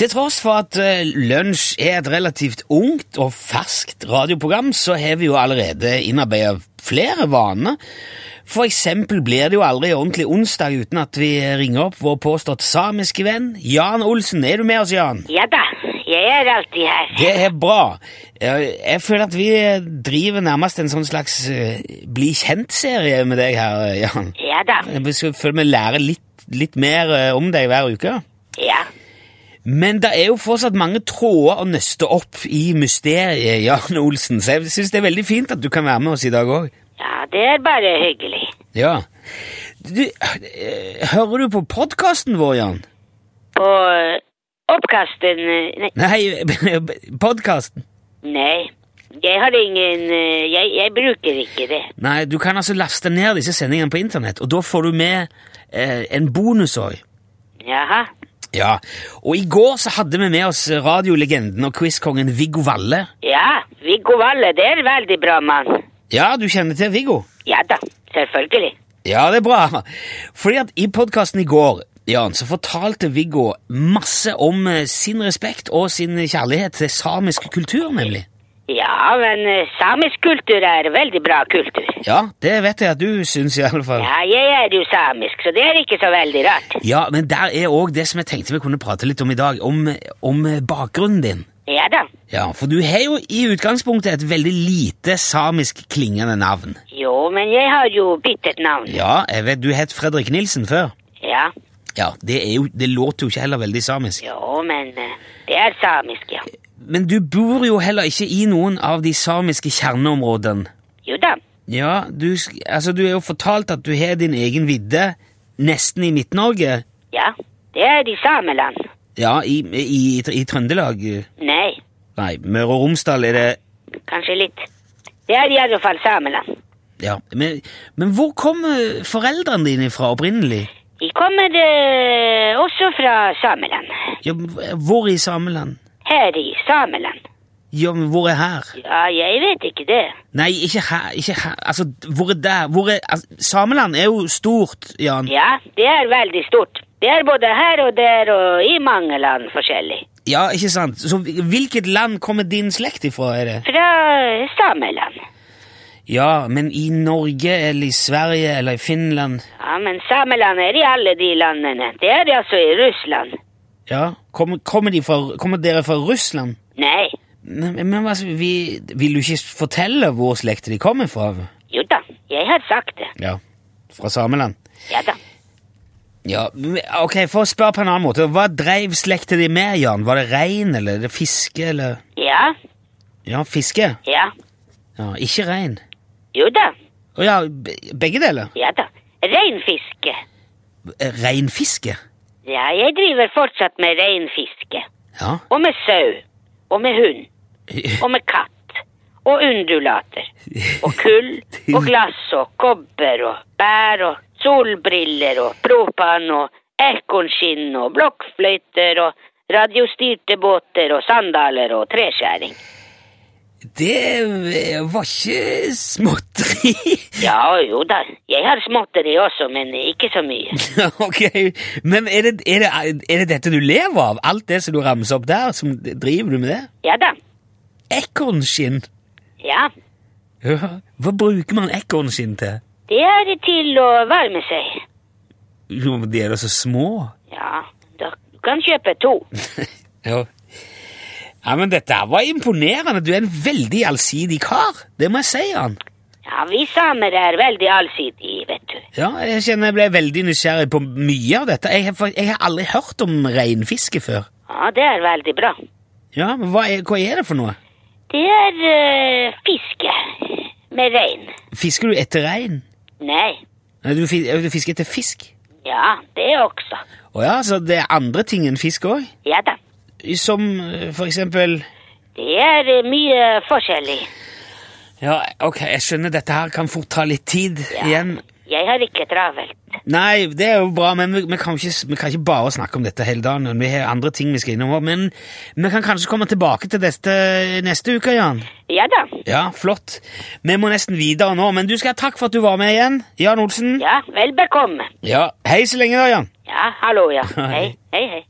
Til tross for at eh, Lunsj er et relativt ungt og ferskt radioprogram, så har vi jo allerede innarbeidet flere vaner. For eksempel blir det jo aldri ordentlig onsdag uten at vi ringer opp vår påstått samiske venn Jan Olsen. Er du med oss, Jan? Ja da, jeg er alltid her. Det er bra. Jeg jeg føler at vi driver nærmest en sånn slags eh, bli kjent-serie med deg her, Jan. Ja da, Jeg føler vi lærer litt, litt mer eh, om deg hver uke. ja. Men det er jo fortsatt mange tråder å nøste opp i mysteriet, Jan Olsen, så jeg syns det er veldig fint at du kan være med oss i dag òg. Ja, det er bare hyggelig. Ja. Du, eh, hører du på podkasten vår, Jan? På eh, oppkasten eh, Nei. Nei, podkasten. nei. Jeg har ingen eh, jeg, jeg bruker ikke det. Nei, du kan altså laste ned disse sendingene på internett, og da får du med eh, en bonus òg. Jaha. Ja. Og i går så hadde vi med oss radiolegenden og quizkongen Viggo Valle. Ja, Viggo Valle, det er en veldig bra mann. Ja, du kjenner til Viggo? Ja da, selvfølgelig. Ja, det er bra. Fordi at i podkasten i går Jan, så fortalte Viggo masse om eh, sin respekt og sin kjærlighet til samisk kultur, nemlig. Ja, men eh, samisk kultur er veldig bra kultur. Ja, det vet jeg at du syns, i alle fall. Ja, jeg er jo samisk, så det er ikke så veldig rart. Ja, men der er òg det som jeg tenkte vi kunne prate litt om i dag, om, om eh, bakgrunnen din. Ja da. Ja, For du har jo i utgangspunktet et veldig lite samisk klingende navn. Jo, men jeg har jo byttet navn. Ja, jeg vet du het Fredrik Nilsen før. Ja. Ja, Det, er jo, det låter jo ikke heller veldig samisk. Jo, men eh, det er samisk, ja. Men du bor jo heller ikke i noen av de samiske kjerneområdene. Jo da. Ja, du, sk- altså, du er jo fortalt at du har din egen vidde nesten i Midt-Norge. Ja, det er i Sameland. Ja, i, i, i, i Trøndelag. eh, Nei, Nei, Møre og Romsdal er det kanskje litt. Det er i alle fall Sameland. Ja, men, men hvor kom eh, foreldrene dine fra opprinnelig? De kommer eh, også fra Sameland. Ja, men hv- hvor i Sameland? Her i Sameland. Ja, men hvor er her? Ja, jeg vet ikke det. Nei, ikke her, ikke her. Altså, hvor er der? Hvor er altså, Sameland er jo stort, Jan. Ja, det er veldig stort. Det er både her og der og i mange land forskjellig. Ja, ikke sant? Så hvilket land kommer din slekt ifra, er det? Fra Sameland. Ja, men i Norge eller i Sverige eller i Finland? Ja, men Sameland er i alle de landene. Det er altså i Russland. Ja, kommer, kommer, de fra, kommer dere fra Russland? Nei, Men, men altså, vi, vil du ikke fortelle hvor slekta de kommer fra? jo da, jeg har sagt det. Ja, fra Sameland. Ja da. Ja, men- ok, For å spørre på en annen måte, hva dreiv slekta di med, Jan? Var det rein, eller er det fiske, eller Ja, Ja, fiske. ja, Ja, Ikke rein. jo da. Å ja, be- begge deler. Ja da. Reinfiske. Eh, Reinfiske? Ja, jeg driver fortsatt med reinfiske. Ja. Og med sau. Og med hund. Og med katt. Og undulater. Og kull. Og glass og kobber og bær og solbriller og propan og ekornskinn og blokkfløyter og radiostyrte båter og sandaler og treskjæring. Det eh, var ikke småtteri. Ja, jo da. Jeg har småtteri også, men ikke så mye. ok, men er det, er, det, er det dette du lever av? Alt det som du ramser opp der, som driver du med det? Ja da. Ekornskinn? Ja. Ja. Hva bruker man ekornskinn til? Det er til å varme seg. Jo, men De er da så små. Ja, da, du kan kjøpe to. Ja. ja, men Dette her var imponerende. Du er en veldig allsidig kar. Det må jeg si, Jan. Ja, vi samer er veldig allsidige, vet du. Ja, Jeg kjenner jeg ble veldig nysgjerrig på mye av dette. Jeg har, fa- jeg har aldri hørt om reinfiske før. Ja, det er veldig bra. Ja, men hva er, hva er det for noe? Det er eh, fiske med rein. Fisker du etter rein? Nei, Nei, Du, fi- du fisker etter fisk? ja, det også. Å ja, så det er andre ting enn fisk òg? Ja da, Som eh, for eksempel det er eh, mye forskjellig. Ja, ok, jeg skjønner dette her kan fort ta litt tid Ja. igjen. Jeg har ikke travelt. Nei, det er jo bra, men vi, vi, kan ikke, vi kan ikke bare snakke om dette hele dagen. Vi har andre ting vi skal innom også, men vi kan kanskje komme tilbake til dette neste uke, Jan. Ja da, Ja, flott. Vi må nesten videre nå, men du skal ha takk for at du var med igjen, Jan Olsen. ja, vel bekomme. Ja, hei så lenge da, Jan. Ja, hallo, ja. Hei, hei, hei.